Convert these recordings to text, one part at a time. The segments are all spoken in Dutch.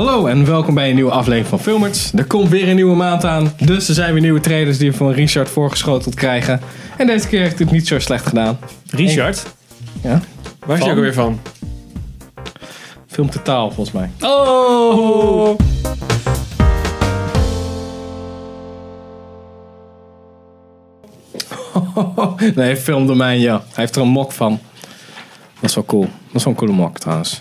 Hallo en welkom bij een nieuwe aflevering van Filmers. Er komt weer een nieuwe maand aan, dus er zijn weer nieuwe trailers die we van Richard voorgeschoteld krijgen. En deze keer heeft hij het niet zo slecht gedaan. Richard? Ja? Waar is je ook weer van? Film totaal volgens mij. Oh! Nee, filmdomein ja. Hij heeft er een mok van. Dat is wel cool. Dat is wel een coole mok trouwens.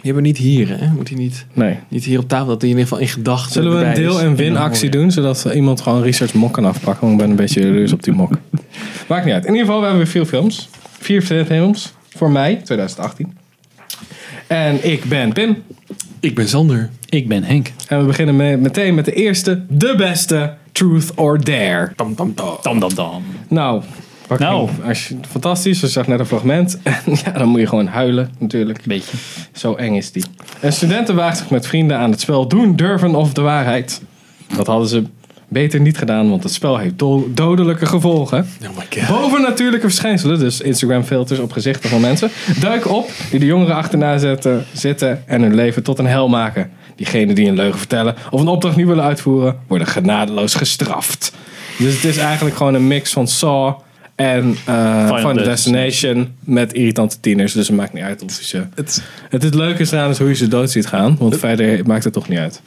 Die hebben we niet hier, hè? Moet hij niet, Nee. niet hier op tafel, dat hij in ieder geval in gedachten Zullen we een erbij deel- is. en win-actie doen, zodat iemand gewoon Richard's mok kan afpakken? Want ik ben een beetje jaloers op die mok. Maakt niet uit. In ieder geval, we hebben weer veel films. Vier films voor mei 2018. En ik ben Pim. Ik ben Sander. Ik ben Henk. En we beginnen me- meteen met de eerste, de beste, Truth or Dare. Tam, tam, tam. Dam, dam, dam. Nou, wat Nou. ging- als je, fantastisch. We zag net een fragment. En ja, dan moet je gewoon huilen natuurlijk. Beetje. Zo eng is die. Een studenten waagt zich met vrienden aan het spel doen, durven of de waarheid. Dat hadden ze beter niet gedaan, want het spel heeft do- dodelijke gevolgen. Oh my god. Bovennatuurlijke verschijnselen, dus Instagram filters op gezichten van mensen, duiken op die de jongeren achterna zetten, zitten en hun leven tot een hel maken. Diegenen die een leugen vertellen of een opdracht niet willen uitvoeren, worden genadeloos gestraft. Dus het is eigenlijk gewoon een mix van Saw en eh Final, Destination met irritante tieners. Dus het maakt niet uit of je ze... Het, Het, het leuke is eraan is hoe je ze dood ziet gaan, want verder maakt het toch niet uit.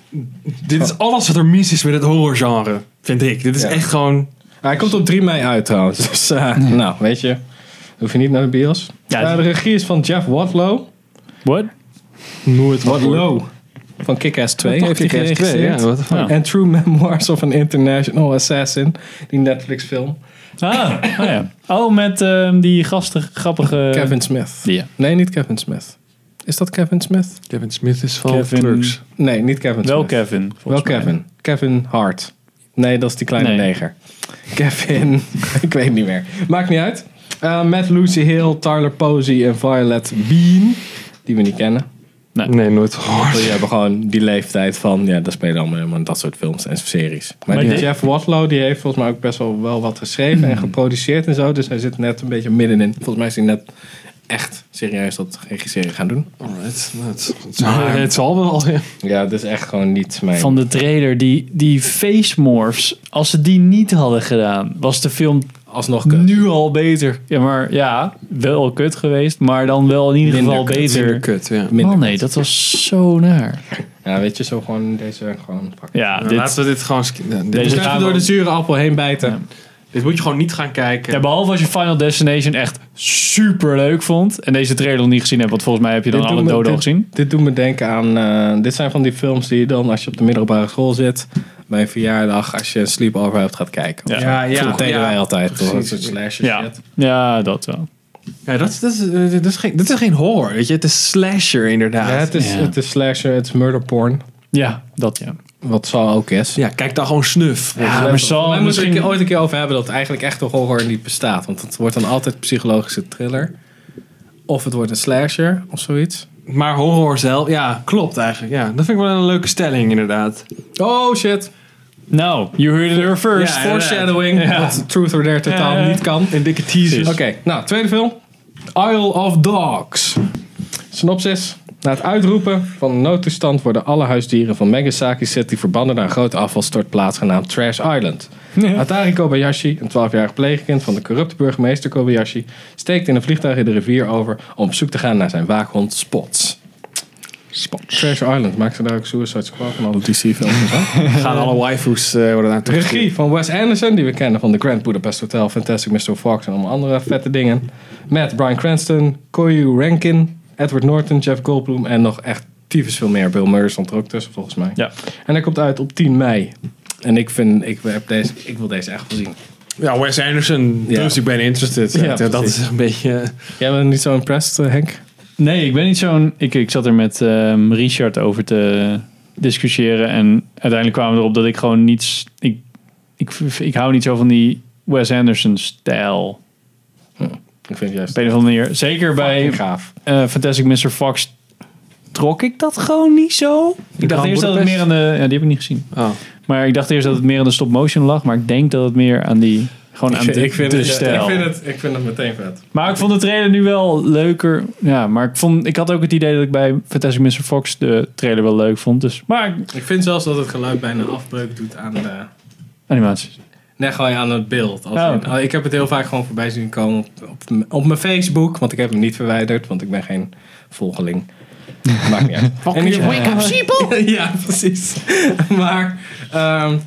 dit is alles wat er mis is met het horrorgenre, vind ik. Dit is Ja. echt gewoon... Hij komt op 3 mei uit trouwens. Dus eh, nou, weet je. Hoef je niet naar de bios. Ja, Eh, het- de regie is van Jeff Wadlow. What? Nooit Wadlow. Van Kick-Ass 2 heeft hij geregisseerd. Ja, wat de fuck. Ja. nou? En True Memoirs of an International Assassin. Die Netflix film. Ah, oh ja. Oh, met ehm, die gastige, grappige... Kevin Smith. Ja. Nee, niet Kevin Smith. Is dat Kevin Smith? Kevin Smith is van Kevin- Clerks. Nee, niet Kevin Wel Smith. Kevin. Wel volgens mij. Kevin. Kevin Hart. Nee, dat is die kleine Nee. neger. Kevin, ik weet niet meer. Maakt niet uit. Eh, met Lucy Hill, Tyler Posey en Violet Bean. Die we niet kennen. Nee, nooit Die gehoord. hebben gewoon die leeftijd van, ja, dat spelen allemaal helemaal in dat soort films en series. Maar, Maar die dit- Jeff Wadlow, die heeft volgens mij ook best wel, wel wat geschreven en geproduceerd en zo. Dus hij zit net een beetje middenin. Volgens mij is hij net echt serieus dat regisseren gaan doen. Alright. nou, het, het, zal- het zal wel, ja. Ja, dat is echt gewoon niet mijn... Van de trailer, die, die face morphs. Als ze die niet hadden gedaan, was de film Alsnog kut. nu al beter. Ja, maar ja, wel kut geweest. Maar dan wel in ieder Minder geval kut, beter. Kut, ja. Minder Man, nee, dat was zo naar. Ja, weet je, zo gewoon deze gewoon pakken. Ja, Nou, dit, Laten we dit gewoon... sk- nou, dit, Deze- Dus moet, even gaan we- door de zure appel heen bijten. Ja. dit moet je gewoon niet gaan kijken. ja, behalve als je Final Destination echt super leuk vond. En deze trailer nog niet gezien hebt, want volgens mij heb je dan Dit alle doet me- doden al dit- gezien. Dit doet me denken aan. eh, dit zijn van die films die je dan als je op de middelbare school zit. Bij een verjaardag, als je een sleepover hebt, gaat kijken. Ja. Ja, ja, dat deden ja. wij altijd. Toch? Dat Precies. soort slasher Ja. shit. ja, dat wel. Ja, dat, is- dat, is, eh, dat, is geen, dat is geen horror, weet je. Het is slasher, Ja, inderdaad. het, is, Ja. het is slasher, het is murder porn. Ja, dat ja. Wat zal ook is. Ja, kijk dan gewoon snuf. Ja, Wij maar zal moeten misschien- het een keer- ooit een keer over hebben dat eigenlijk echt de horror niet bestaat. Want het wordt dan altijd psychologische thriller. Of het wordt een slasher of zoiets. Maar horror zelf, ja, klopt eigenlijk. Ja, dat vind ik wel een leuke stelling, inderdaad. Oh shit. Nou, you heard it here first. Ja, inderdaad. Foreshadowing. Wat Truth or Dare totaal Ja. niet kan. Een dikke teaser. Oké, nou, tweede film. Isle of Dogs. Synopsis. Na het uitroepen van een noodtoestand worden alle huisdieren van Megasaki City verbannen naar een grote afvalstortplaats genaamd Trash Island. Atari Kobayashi, een 12-jarig pleegkind van de corrupte burgemeester Kobayashi, steekt in een vliegtuig in de rivier over om op zoek te gaan naar zijn waakhond Spots. Spots. Trash Island, maakt ze daar ook Suicide Squad van alle DC-films? gaan alle waifus eh, worden naartoe gestuurd. Regie van Wes Anderson, die we kennen van The Grand Budapest Hotel, Fantastic Mr. Fox en allemaal andere vette dingen. Met Brian Cranston, Koyu Rankin, Edward Norton, Jeff Goldblum en nog echt tyfus veel meer. Bill Murray stond er ook tussen volgens mij. Ja. En hij komt uit op 10 mei. En ik, vind, ik, heb deze, ik wil deze echt wel zien. Ja, Wes Anderson, Ja. dus ik ben interested. Ja, Ja, dat precies. is een beetje... Jij bent niet zo impressed, eh, Henk? Nee, ik ben niet zo'n... Ik, ik zat er met ehm, Richard over te discussiëren. En uiteindelijk kwamen we erop dat ik gewoon niets... Ik, ik, ik hou niet zo van die Wes Anderson-stijl. Ik vind het Op juist een of andere manier. Zeker bij fucking gaaf. eh, Fantastic Mr. Fox trok ik dat gewoon niet zo. Ik dacht Grand eerst dat het meer Budapest? aan de... Ja, die heb ik niet gezien. Oh. Maar ik dacht eerst dat het meer aan de stop-motion lag. Maar ik denk dat het meer aan die... Gewoon aan ik, de, ik vind de het, Ik stijl. vind, het, ik vind het meteen vet. Maar ik vond de trailer nu wel leuker. Ja, maar ik, vond, ik had ook het idee dat ik bij Fantastic Mr. Fox de trailer wel leuk vond. Dus, maar Ik vind zelfs dat het geluid bijna afbreuk doet aan de... animaties. Nee, gewoon aan het beeld. Als Oh. in- ik heb het heel vaak gewoon voorbij zien komen op, op, m- op mijn Facebook. Want ik heb hem niet verwijderd, want ik ben geen volgeling. Maakt niet uit. En you, wake up, sheeple! ja, precies. maar ehm,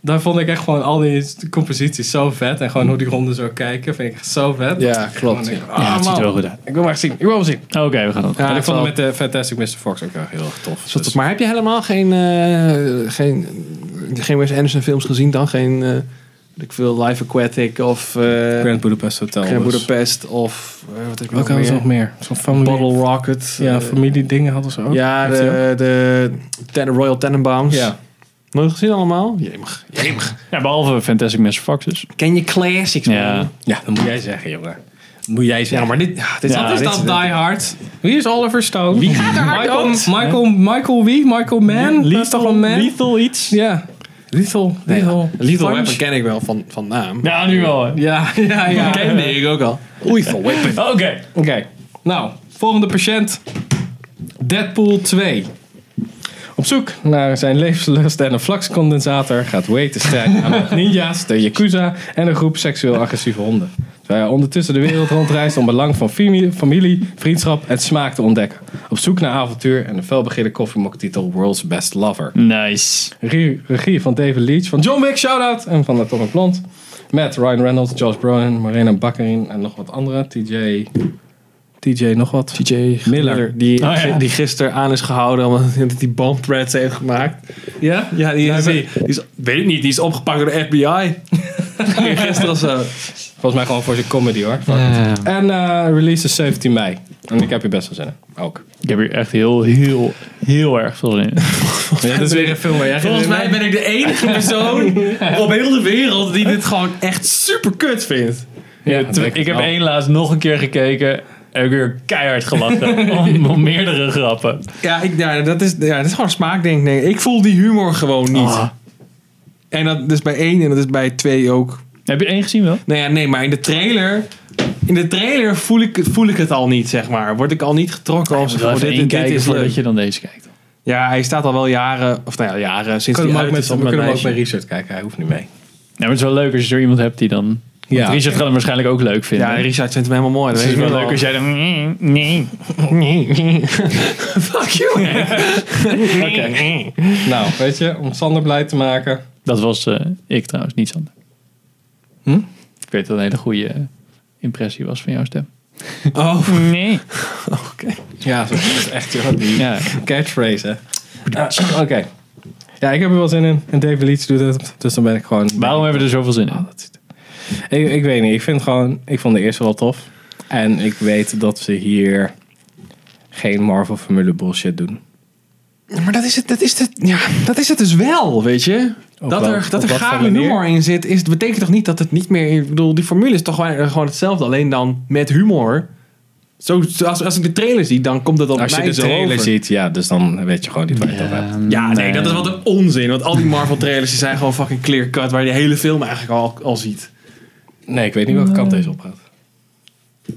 daar vond ik echt gewoon al die s- composities zo vet. En gewoon hoe die ronden zo kijken, vind ik echt zo vet. Ja, klopt. Gewoon Ja. denk ik, ah, man, goed uit. Ik wil maar zien. Ik wil hem zien. Oké, we gaan het. en Ja, ik vond hem wel- met de Fantastic Mr. Fox ook echt heel erg tof. Zat Dus- het- maar heb je helemaal geen, eh, geen, geen Wes Anderson films gezien dan? Geen, eh, weet ik veel, Live Aquatic of eh Grand Budapest Hotel. Grand dus. Budapest of eh, wat heb Welke je nog hadden ze nog meer? meer? Zo'n Bottle familie... Rocket. Ja, eh, familiedingen hadden ze ook. ja, Heeft hij ook? de, de Ten- Royal Tenenbaums. Ja. Nooit gezien allemaal? Jemig. Ja, behalve Fantastic Mr. Fox dus. Ken je classics, man? Ja. Ja, dat moet jij zeggen, jongen. Dat moet jij zeggen. Ja, maar dit... Ja, dit Ja, Wat dit- is dat dit- Die Hard? Wie is Oliver Stone? Wie gaat er hard Michael, dood? Michael, Michael wie? Michael Mann? dat is toch een man? Lethal iets? Ja, Ja. Lethal. Nee, Lethal. Lethal Punch. Weapon ken ik wel van, van naam. nu wel. hè. Ja, ja, ja. Oké. Ken ik ook al. Lethal Weapon. Oké. Nou, volgende patiënt. Deadpool 2. Op zoek naar zijn levenslust en een flaxcondensator gaat Wade te strijden aan met ninja's, de Yakuza en een groep seksueel agressieve honden. Terwijl hij ondertussen de wereld rondreist om belang van fami- familie, vriendschap en smaak te ontdekken. Op zoek naar avontuur en de felbegeerde koffiemoktitel World's Best Lover. Nice. Regie, regie van David Leach, van John Wick, shout-out, en van Atomic Blond. Met Ryan Reynolds, Josh Brolin, Marina Bakkerin en nog wat anderen. TJ... TJ nog wat? TJ Miller. Die, Oh, ja. die gisteren aan is gehouden omdat hij die bomb threats heeft gemaakt. Ja? Ja, die is, maar- die, die is- weet ik niet, die is opgepakt door de FBI. gisteren of zo. Volgens mij gewoon voor zijn comedy hoor. Fuck it. En eh, release is 17 mei. En ik heb hier best wel zin in. Ook. Ik heb hier echt heel, heel, heel erg veel zin in. Ja, dit is weer een film waar jij Volgens geen mij zin in ben ik de enige persoon op heel de wereld die dit gewoon echt super kut vindt. hebt? Ja, dat denk ik, heb wel. één laatst nog een keer gekeken. Heb ik weer keihard gelachen. om, om meerdere grappen. Ja, ik, ja, dat, is, ja dat is gewoon een smaakding. denk ik. Ik voel die humor gewoon niet. Ah. En dat is bij één en dat is bij twee ook. Heb je één gezien wel? Nou ja, nee, maar in de trailer... In de trailer voel ik, het- voel ik het al niet, zeg maar. Word ik al niet getrokken als... Zullen we oh, even dit, één dit, dit kijken is voordat leuk. je dan deze kijkt? Ja, hij staat al wel jaren, of nou ja, jaren We sinds kunnen hem ook hij uit met, is we op kunnen mijn hem ook met lijstje. Richard kijken. Hij hoeft niet mee. Ja, maar het is wel leuk als je er iemand hebt die dan... Ja. Want Richard gaat hem waarschijnlijk ook leuk vinden. Dus Ja, Richard vindt hem helemaal mooi. Dat het is weet ik wel nu leuk al. als jij dan... Nee, nee. Fuck you! Oké. Nou, weet je, om Sander blij te maken. Dat was eh, ik trouwens, niet Sander. Hm? Ik weet dat het een hele goede eh, impressie was van jouw stem. Oh, Nee. Ja, dat is echt joh, die Ja. catchphrase hè. Ah, Oké. Ja, ik heb er wel zin in. En David Leach doet het. Dus dan ben ik gewoon... Waarom hebben we er zoveel zin Ah, in? Ik, ik weet niet. Ik vind gewoon... Ik vond de eerste wel tof. En ik weet dat ze hier geen Marvel-formule bullshit doen. maar dat is, het, dat, is het, ja, dat is het dus wel, weet je? Op dat wel- er, op dat er wat voor gave manier? humor in zit, is, betekent toch niet dat het niet meer... Ik bedoel, die formule is toch gewoon, gewoon hetzelfde, alleen dan met humor. Zo, zo- als, als ik de trailer zie, dan komt het op Als je mij de zo trailer over. ziet, ja, dus dan weet je gewoon niet waar je het over hebt. Ja, nee, dat is wat een onzin. Want al die Marvel trailers die zijn gewoon fucking clear cut, waar je de hele film eigenlijk al, al ziet. Nee, ik weet niet welke kant deze op gaat.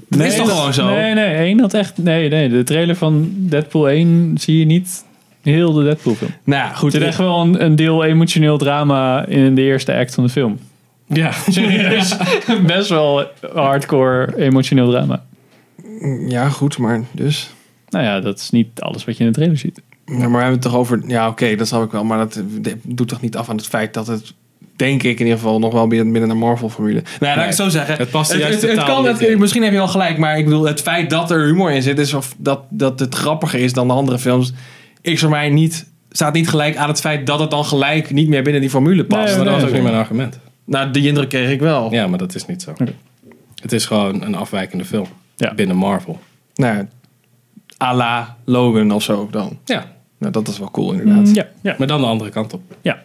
Dat is toch gewoon zo? Nee, nee. één had echt... Nee, nee. De trailer van Deadpool 1 zie je niet heel de Deadpool film. Nou ja, Er goed. zit echt wel een, een deel emotioneel drama in de eerste act van de film. Ja, Serieus. Best wel hardcore emotioneel drama. Ja, goed, maar dus. Nou ja, dat is niet alles wat je in de trailer ziet. Ja, maar we hebben het toch over. Ja, oké, dat snap ik wel. Maar dat eh, doet toch niet af aan het feit dat het. Denk ik in ieder geval nog wel binnen binnen de Marvel-formule. Nou, laat ik Nee. het zo zeggen. Het past er juist het, totaal kan, niet het- in. Misschien heb je wel gelijk, maar ik bedoel, het feit dat er humor in zit, is of dat, dat het grappiger is dan de andere films, is voor mij niet, staat niet gelijk aan het feit dat het dan gelijk niet meer binnen die formule past. Nee, maar dat was ook nee. niet mijn argument. Nou, die indruk kreeg ik wel. Ja, maar dat is niet zo. Oké. Het is gewoon een afwijkende film Ja. binnen Marvel. Nou, ja, à la Logan of zo dan. Ja, Nou, dat is wel cool inderdaad. Mm, Ja, ja, maar dan de andere kant op. ja.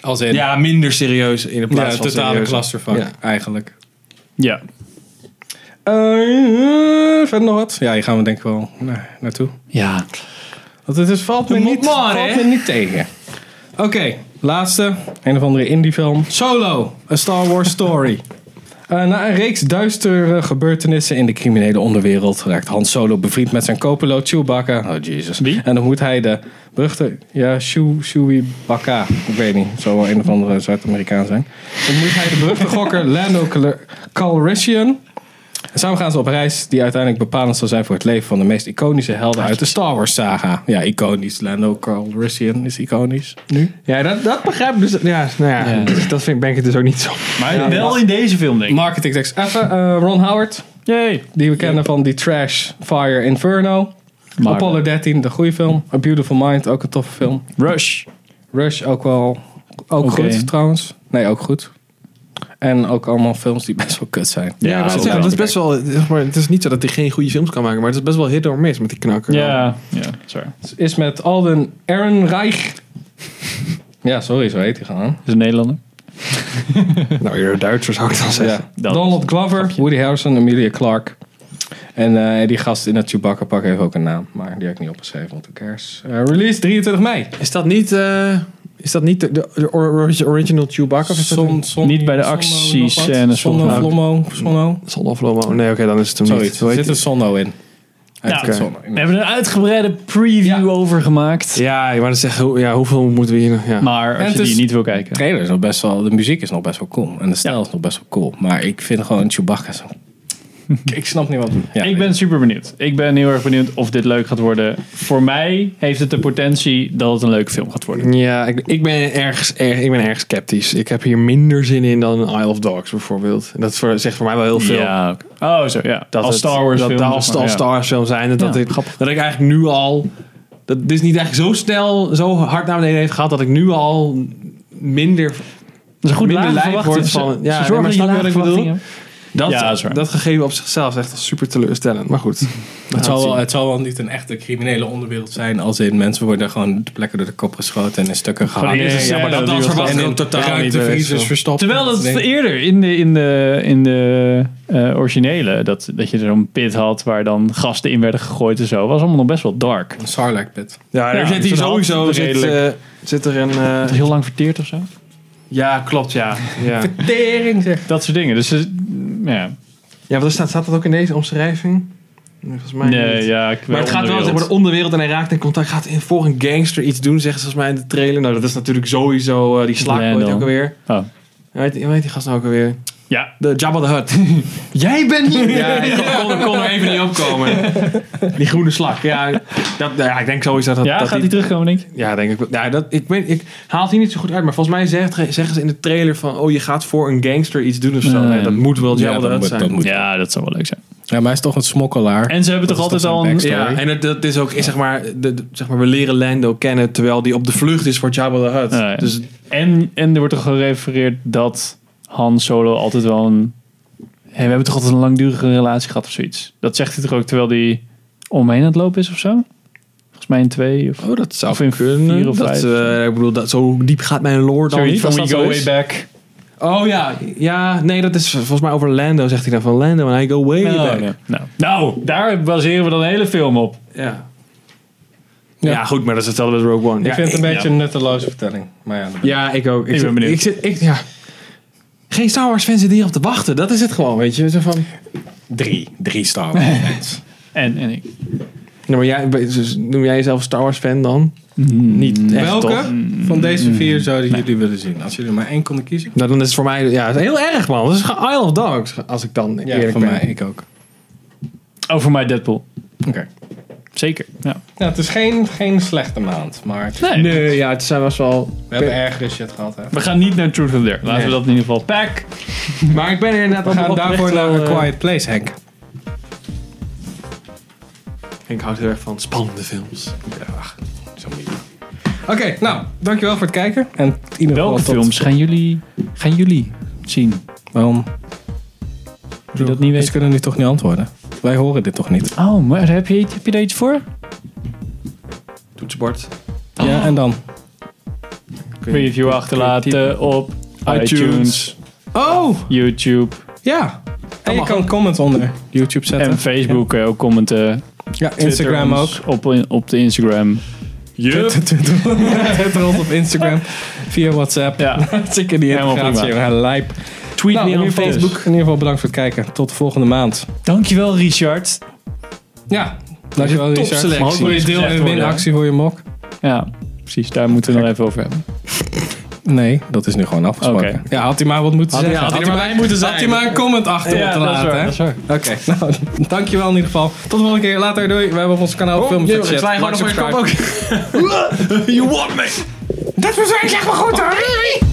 Als in ja, Ja, minder serieus in de plaats van totale serieus. clusterfuck Ja. eigenlijk. ja. Eh, verder nog wat? Ja, hier gaan we denk ik wel naar, naartoe. Ja. Want het is, valt me Moet niet, maar, valt hè? me niet tegen. Oké, laatste. Een of andere indie film. Solo. A Star Wars Story. Eh, na een reeks duistere gebeurtenissen in de criminele onderwereld raakt Han Solo bevriend met zijn co-piloot Chewbacca. Oh Jesus. Wie? En dan moet hij de beruchte, ja, Chew- Chewbacca, ik weet niet, zou wel een of andere Zuid-Amerikaan zijn. Dan moet hij de beruchte gokker Lando Cal- Calrissian. En samen gaan ze op reis die uiteindelijk bepalend zal zijn voor het leven van de meest iconische helden uit de Star Wars saga. Ja, iconisch. Lando Calrissian is iconisch. Nu? Ja, dat, dat begrijp ik dus. Ja, nou ja, Ja. dus dat vind, ben ik het dus ook niet zo. Maar wel in deze film, denk ik. Marketingtekst. Even eh, Ron Howard. Yay. Die we kennen van die Trash, Fire, Inferno. Maar- eh, Apollo 13, de goede film. A Beautiful Mind, ook een toffe film. Rush. Rush, ook wel ook Oké. goed trouwens. Nee, ook goed. En ook allemaal films die best wel kut zijn. Ja, maar dat het, wel. is best wel. zeg maar, het is niet zo dat hij geen goede films kan maken, maar het is best wel hit or miss met die knakker. Ja, ja, sorry. Dat Het Is met Alden Ehrenreich. Ja, sorry, zo heet hij gewoon. is een Nederlander. Nou, je Duitsers zou ik dan zeggen. Ja. Dat Donald Glover, Woody Harrelson, Amelia Clark. En eh, die gast in het Chewbacca pak heeft ook een naam. Maar die heb ik niet opgeschreven, want who cares. Eh, release 23 mei. Is dat niet. eh, is dat niet de, de- de or- original Chewbacca? Of is dat Son- son- Niet bij de Nou, Sonno actiescènes nog wat? volgens Sonno, Flommo, mij. Sonno. een- Son of Lomo? Nee, oké, dan is het hem Zoiets. niet. Hoe Er heet zit een Sonno in. Hij Nou, heeft een oké. Sonno We in. hebben er een uitgebreide preview Ja. over gemaakt. die? Ja, maar dat zegt hoe- ja, hoeveel moeten we hier. Ja. Maar En als je het die is- niet wil De kijken. trailer is nog best wel, de muziek is nog best wel cool. En de stijl is nog best wel cool. Maar ik vind gewoon Chewbacca zo. ik snap niet wat. Ja, ik ben super benieuwd. Ik ben heel erg benieuwd of dit leuk gaat worden. Voor mij heeft het de potentie dat het een leuke film gaat worden. Ja, ik, ik, ben ergens, erg, ik ben erg sceptisch. Ik heb hier minder zin in dan Isle of Dogs bijvoorbeeld. En Dat is voor, zegt voor mij wel heel veel. Ja, oké. Oh, zo ja. Dat als het- Star Wars dat, film. als, als Star Wars film zijn. Dat, dat, Ja, ik, dat ik eigenlijk nu al... Dat dit is niet echt zo snel, zo hard naar beneden heeft gehad... dat ik nu al minder... Dat is een goed minder lage lijf verwachting. wordt van- Ze- ja, ze nee, zorgen maar dat je snap je lage wat ik bedoel? verwachtingen hebt. Dat, Ja, dat is waar. gegeven op zichzelf is echt super teleurstellend. Maar goed. het, zal het wel, zien. het zal wel niet een echte criminele onderwereld zijn. Als in mensen worden gewoon de plekken door de kop geschoten en in stukken gehakt. En eerst een scène die was in verwacht ik ook totaal niet. bij deze ruimtevriezers film. verstopt. Terwijl dat Nee. eerder in de, in de, in de eh, originele, dat, dat je zo'n pit had waar dan gasten in werden gegooid en zo, was allemaal nog best wel dark. Een Sarlacc pit. Ja, er Ja, zit hier zo'n half sowieso... zit Zit, redelijk. eh, zit er een... eh, Dat is heel lang verteerd of zo. ja, klopt, ja. Ja, Tering zeg. Dat soort dingen. Dus eh, ja. ja want er staat, staat dat ook in deze omschrijving? Nee, Volgens mij niet. Nee, ja, ik Maar het gaat wel zeg maar, de onderwereld. onderwereld en hij raakt in contact. Gaat in, voor een gangster iets doen, zeggen ze volgens mij in de trailer. Nou, dat is natuurlijk sowieso eh, die slaak ooit Lando. ook alweer. Oh. Hoe heet, hoe heet die gast nou ook alweer? Ja, De Jabba the Hutt. Jij bent hier! Ja, ik kon, kon- kon er even niet opkomen. Die groene slak. Ja, dat, nou ja ik denk sowieso dat ja dat gaat die terugkomen, denk je? Ja, denk ik wel. Ja, dat, ik, weet, ik haal het hier niet zo goed uit, maar volgens mij zegt, zeggen ze in de trailer van... Oh, je gaat voor een gangster iets doen of zo. Nee. Nee, dat moet wel Ja, Jabba the dat Hutt moet- zijn. dat moet. Ja, dat zou wel leuk zijn. Ja, maar hij is toch een smokkelaar. En ze hebben Dat toch is altijd toch al zo'n een... backstory? Ja. Ja, en het- dat is ook, is, zeg maar, de, de- zeg maar, we leren Lando kennen terwijl die op de vlucht is voor Jabba the Hutt. Ah, ja. Dus En, en er wordt toch gerefereerd dat Han Solo altijd wel een... Hey, we hebben toch altijd een langdurige relatie gehad of zoiets? Dat zegt hij toch ook terwijl hij omheen aan het lopen is of zo? Volgens mij in twee of... oh, dat zou Of in kunnen. vier of dat, vijf. eh, ik bedoel, dat, zo diep gaat mijn lore dan Zoiets niet. van als dat we go zo way is. back. Oh ja, ja, nee, dat is volgens mij over Lando zegt hij dan van Lando en I go way Nou, back. nou, nou. nou, daar baseren we dan de hele film op. Ja. Ja. Ja. goed, maar dat is hetzelfde met Rogue One. Ik ja, vind het een ik- beetje een nutteloze vertelling. Maar ja, dat- Ja, ik ook. Ik ben zit- benieuwd. Ik zit, ik, ja. Geen Star Wars fans zitten hier op te wachten. Dat is het gewoon, weet je. Zo van, drie. Drie Star Wars fans. En, en ik. nou, maar jij, dus noem jij jezelf Star Wars fan dan? Niet Mm, echt, Mm. Welke toch? van deze vier zouden jullie willen zien? Als jullie er maar één konden kiezen? Nou, dan is het voor mij ja, het is heel erg, man. Dat is gewoon Isle of Dogs, als ik dan Ja, eerlijk voor ben. mij, ik ook. Over mij Deadpool. Oké. Zeker. Ja. Nou, het is geen, geen slechte maand, maar we Nee. Nee, ja, het zijn was wel... hebben ergere shit gehad. Hè? We gaan niet naar Truth or Dare. Laten Nee. we dat in ieder geval pack. Maar ik ben er inderdaad We op- gaan oprecht daarvoor wel, naar een eh, Quiet Place, Henk. Ik houd heel erg van spannende films. Oké, nou, dankjewel voor het kijken. En in ieder geval Welke tot- films gaan jullie, gaan jullie zien? Waarom? Die dat niet Ze weten. kunnen nu toch niet antwoorden? Wij horen dit toch niet? Oh, maar heb je, heb je daar iets voor? Toetsenbord. Ja, Oh, Oh. en dan? Review achterlaten op iTunes, iTunes, Oh, YouTube ja. En je mag kan comments onder YouTube zetten. en Facebook. eh, Ook commenten. ja, Twitter Instagram ook. ons Op, op de Instagram. Twitter ons op Instagram. Via WhatsApp. Ja. Zeker die Helemaal integratie. prima. jongen. Lijp. Tweet Nou, me in aan ieder, geval, Facebook. in ieder geval bedankt voor het kijken. Tot de volgende maand. Dankjewel, Richard. Ja, dankjewel Top Richard. selectie. Maar ook voor je deel- en winactie voor je mok. Ja, precies. Daar moeten we nog even over hebben. Nee, dat is nu gewoon afgesproken. Oké. Ja, had hij maar wat moeten Had- zeggen. ja, had hij hij er bij moeten Had hij zijn. maar een comment achter moeten laten. hè? Oké, nou, dankjewel in ieder geval. Tot de volgende keer. Later, doei. We hebben op ons kanaal filmpjes Ik gezet. zwaai Like, gewoon op mijn subscribe. kop ook. you want me? Dat was eigenlijk maar goed hoor.